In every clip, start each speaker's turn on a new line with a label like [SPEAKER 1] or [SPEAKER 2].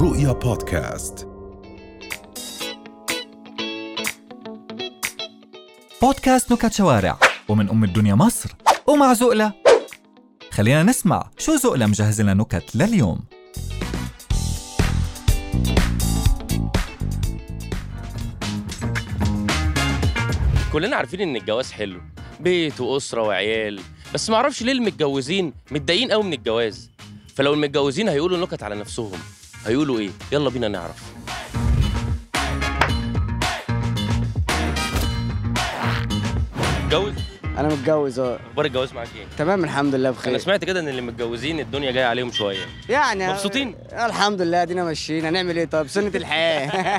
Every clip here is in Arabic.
[SPEAKER 1] رؤيا بودكاست
[SPEAKER 2] بودكاست نكت شوارع ومن أم الدنيا مصر ومع زقلة خلينا نسمع شو زقلة مجهز لنا نكت لليوم
[SPEAKER 3] كلنا عارفين ان الجواز حلو بيت واسره وعيال بس ما اعرفش ليه المتجوزين متضايقين قوي من الجواز فلو المتجوزين هيقولوا نكت على نفسهم هيقولوا ايه يلا بينا نعرف متجوز
[SPEAKER 4] انا متجوز اه
[SPEAKER 3] اخبار الجواز معاك ايه
[SPEAKER 4] تمام الحمد لله
[SPEAKER 3] انا
[SPEAKER 4] بخير
[SPEAKER 3] سمعت كده ان اللي متجوزين الدنيا جايه عليهم شويه
[SPEAKER 4] يعني
[SPEAKER 3] مبسوطين؟
[SPEAKER 4] الحمد لله ادينا ماشيين هنعمل ايه طب سنه الحياه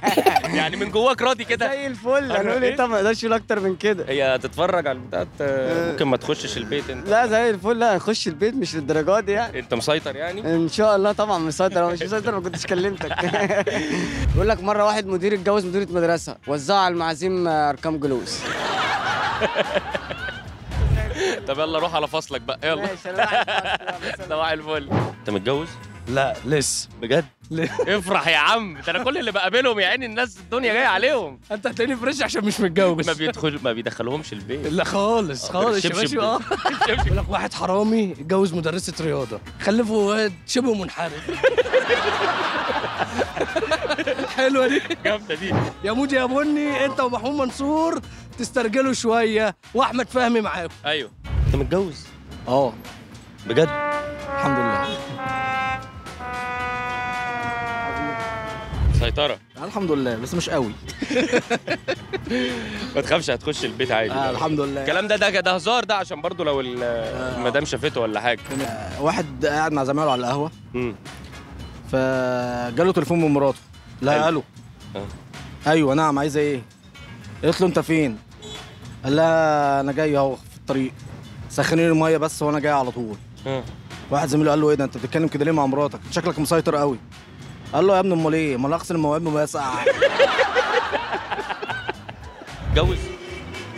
[SPEAKER 3] يعني من جواك راضي كده
[SPEAKER 4] زي الفل هنقول
[SPEAKER 3] إيه؟
[SPEAKER 4] ايه طب ما اقدرش اقول اكتر من كده
[SPEAKER 3] هي تتفرج على البتاعات آه، ممكن ما تخشش البيت انت
[SPEAKER 4] لا زي الفل لا هنخش البيت مش للدرجه دي يعني
[SPEAKER 3] انت مسيطر يعني
[SPEAKER 4] ان شاء الله طبعا مسيطر لو مش مسيطر ما كنتش كلمتك بيقول لك مره واحد مدير اتجوز مديره مدرسه وزعها على المعازيم ارقام جلوس
[SPEAKER 3] طب يلا روح على فصلك بقى يلا صباح الفل انت متجوز
[SPEAKER 5] لا لسه
[SPEAKER 3] بجد
[SPEAKER 5] ليه؟
[SPEAKER 3] افرح يا عم ده انا كل اللي بقابلهم يا عيني الناس الدنيا جايه عليهم
[SPEAKER 5] انت هتلاقيني فريش عشان مش
[SPEAKER 3] ما
[SPEAKER 5] متجوز
[SPEAKER 3] بيدخل ما بيدخلهمش البيت
[SPEAKER 5] لا خالص خالص يا
[SPEAKER 3] شبشب.
[SPEAKER 5] باشا اه يقول لك واحد حرامي اتجوز مدرسة رياضة خلفه واد شبه منحرف حلوة دي
[SPEAKER 3] جامده دي
[SPEAKER 5] يا مودي يا بني انت ومحمود منصور تسترجلوا شوية واحمد فهمي معاكم
[SPEAKER 3] ايوه انت متجوز
[SPEAKER 5] اه
[SPEAKER 3] بجد
[SPEAKER 5] الحمد لله
[SPEAKER 3] مسيطره
[SPEAKER 5] الحمد لله بس مش قوي
[SPEAKER 3] ما تخافش هتخش البيت عادي
[SPEAKER 5] آه الحمد لله آه.
[SPEAKER 3] الكلام ده ده ده هزار ده عشان برضو لو ال- المدام شافته ولا حاجه
[SPEAKER 5] يعني واحد قاعد مع زمايله على القهوة
[SPEAKER 3] مم.
[SPEAKER 5] فجاله تليفون من مراته
[SPEAKER 3] أيوة.
[SPEAKER 5] لا الو
[SPEAKER 3] آه.
[SPEAKER 5] ايوه نعم عايزه ايه قلت له انت فين قال لها انا جاي اهو في الطريق سخنين الميه بس وانا جاي على طول
[SPEAKER 3] آه.
[SPEAKER 5] واحد زميله قال له ايه ده انت بتتكلم كده ليه مع مراتك شكلك مسيطر قوي قال له يا ابني امال ايه امال اغسل المواعين بميه ساقعه
[SPEAKER 3] متجوز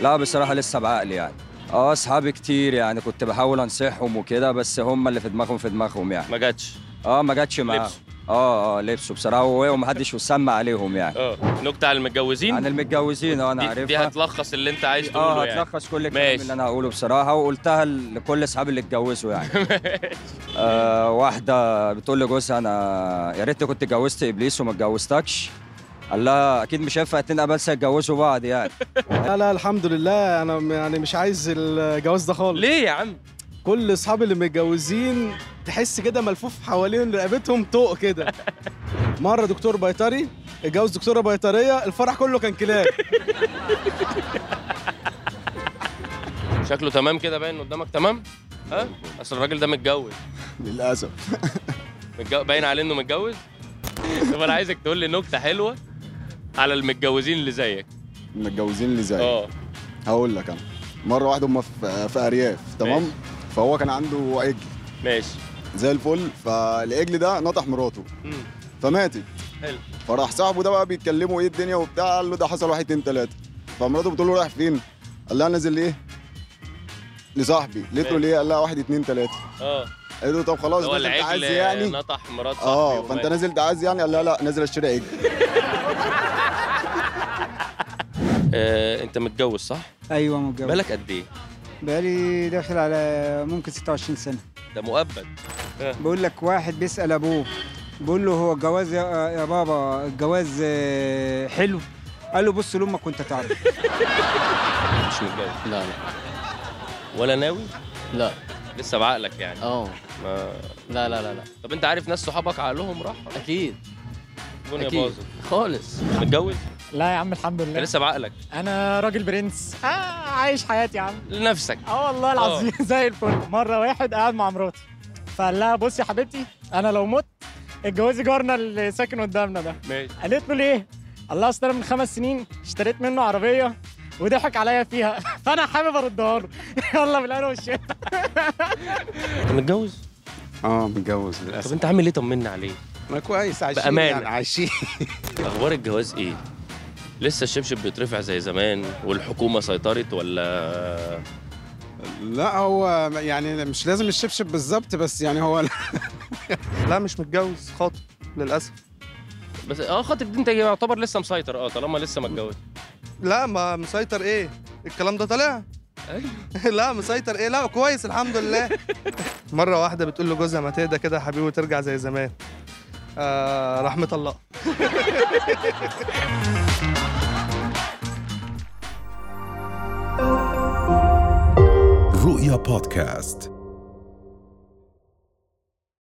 [SPEAKER 6] لا بصراحة لسه بعقلي يعني اه اصحابي كتير يعني كنت بحاول انصحهم وكده بس هم اللي في دماغهم في دماغهم يعني
[SPEAKER 3] ما جاتش
[SPEAKER 6] اه ما جاتش معاهم
[SPEAKER 3] لبسوا.
[SPEAKER 6] اه اه لبسوا بصراحة ووقعوا محدش وسمى عليهم يعني
[SPEAKER 3] اه نكته على المتجوزين
[SPEAKER 6] عن المتجوزين اه انا
[SPEAKER 3] دي, دي
[SPEAKER 6] عارفها
[SPEAKER 3] هتلخص اللي انت عايز تقوله
[SPEAKER 5] آه،
[SPEAKER 6] اه
[SPEAKER 3] يعني
[SPEAKER 6] هتلخص كل الكلام
[SPEAKER 3] ماشي.
[SPEAKER 6] اللي انا هقوله بصراحة وقلتها لكل اصحابي اللي اتجوزوا يعني آه واحدة بتقول لجوزها انا يا ريتني كنت اتجوزت ابليس وما اتجوزتكش قال لها اكيد مش هينفع اتنين قبل يتجوزوا بعض يعني
[SPEAKER 7] لا لا الحمد لله انا م- يعني مش عايز الجواز ده خالص
[SPEAKER 3] ليه يا عم
[SPEAKER 7] كل اصحابي اللي متجوزين تحس كده ملفوف حوالين رقبتهم طوق كده مره دكتور بيطري اتجوز دكتوره بيطريه الفرح كله كان كلاب
[SPEAKER 3] شكله تمام كده باين قدامك تمام ها اصل الراجل ده متجوز
[SPEAKER 7] للاسف
[SPEAKER 3] متجو... باين عليه انه متجوز طب انا عايزك تقول لي نكته حلوه على المتجوزين اللي زيك
[SPEAKER 8] متجوزين اللي زيي
[SPEAKER 3] اه
[SPEAKER 8] هقول لك انا مره واحده هم في في ارياف تمام
[SPEAKER 3] ماشي.
[SPEAKER 8] فهو كان عنده عجل
[SPEAKER 3] ماشي
[SPEAKER 8] زي الفل فالعجل ده نطح مراته
[SPEAKER 3] مم.
[SPEAKER 8] فماتت
[SPEAKER 3] حلو.
[SPEAKER 8] فراح صاحبه ده بقى بيتكلموا ايه الدنيا وبتاع قال له ده حصل واحد اتنين تلاته فمراته بتقول له رايح فين؟ قال لها نازل ليه؟ لصاحبي قالت
[SPEAKER 3] ماشي.
[SPEAKER 8] له ليه؟ قال لها واحد اتنين تلاته
[SPEAKER 3] اه
[SPEAKER 8] قالت له طب خلاص
[SPEAKER 3] هو
[SPEAKER 8] نازل انت عايز
[SPEAKER 3] العجل
[SPEAKER 8] يعني
[SPEAKER 3] نطح مرات صاحبي
[SPEAKER 8] اه
[SPEAKER 3] ومات.
[SPEAKER 8] فانت نازل تعاز يعني قال لها لا نازل اشتري عجل
[SPEAKER 3] آه، انت متجوز صح؟
[SPEAKER 4] ايوه متجوز
[SPEAKER 3] بالك قد ايه؟
[SPEAKER 4] بقالي داخل على ممكن 26 سنه
[SPEAKER 3] ده مؤبد
[SPEAKER 4] بقول لك واحد بيسأل أبوه بيقول له هو الجواز يا, يا بابا الجواز آه، حلو قال له بص لأمك وأنت تعرف
[SPEAKER 3] مش متجوز لا لا ولا ناوي؟
[SPEAKER 9] لا
[SPEAKER 3] لسه بعقلك
[SPEAKER 5] آه.
[SPEAKER 3] يعني
[SPEAKER 9] اه
[SPEAKER 3] ما...
[SPEAKER 9] لا لا لا لا
[SPEAKER 3] طب انت عارف ناس صحابك عقلهم راح
[SPEAKER 9] اكيد
[SPEAKER 3] الدنيا
[SPEAKER 9] اكيد
[SPEAKER 3] باظت
[SPEAKER 9] خالص
[SPEAKER 3] متجوز؟
[SPEAKER 10] لا يا عم الحمد
[SPEAKER 3] انت
[SPEAKER 10] لله
[SPEAKER 3] لسه بعقلك
[SPEAKER 10] انا راجل برنس آه عايش حياتي يا عم
[SPEAKER 3] لنفسك آه.
[SPEAKER 10] اه والله العظيم زي الفل مره واحد قاعد مع مراتي فقال لها بصي يا حبيبتي انا لو مت اتجوزي جارنا اللي ساكن قدامنا ده
[SPEAKER 3] ماشي
[SPEAKER 10] قالت له ليه الله اصل أنا من خمس سنين اشتريت منه عربيه وضحك عليا فيها فانا حابب اردها له يلا بالهنا والشفا
[SPEAKER 3] انت متجوز؟
[SPEAKER 7] اه متجوز
[SPEAKER 3] طب انت عامل ايه طمنا عليه؟
[SPEAKER 7] انا كويس عايشين
[SPEAKER 3] بأمانة. يعني
[SPEAKER 7] عايشين
[SPEAKER 3] اخبار الجواز ايه؟ لسه الشبشب بيترفع زي زمان والحكومه سيطرت ولا
[SPEAKER 7] لا هو يعني مش لازم الشبشب بالظبط بس يعني هو لا مش متجوز خاطب للاسف
[SPEAKER 3] بس اه خاطر دي انت يعتبر لسه مسيطر اه طالما لسه ما اتجوزت
[SPEAKER 5] لا ما مسيطر ايه الكلام ده طالع
[SPEAKER 3] أيوة.
[SPEAKER 5] لا مسيطر ايه لا كويس الحمد لله مره واحده بتقول لجوزها ما تهدى كده يا حبيبي وترجع زي زمان آه راح مطلقها
[SPEAKER 9] رؤيا بودكاست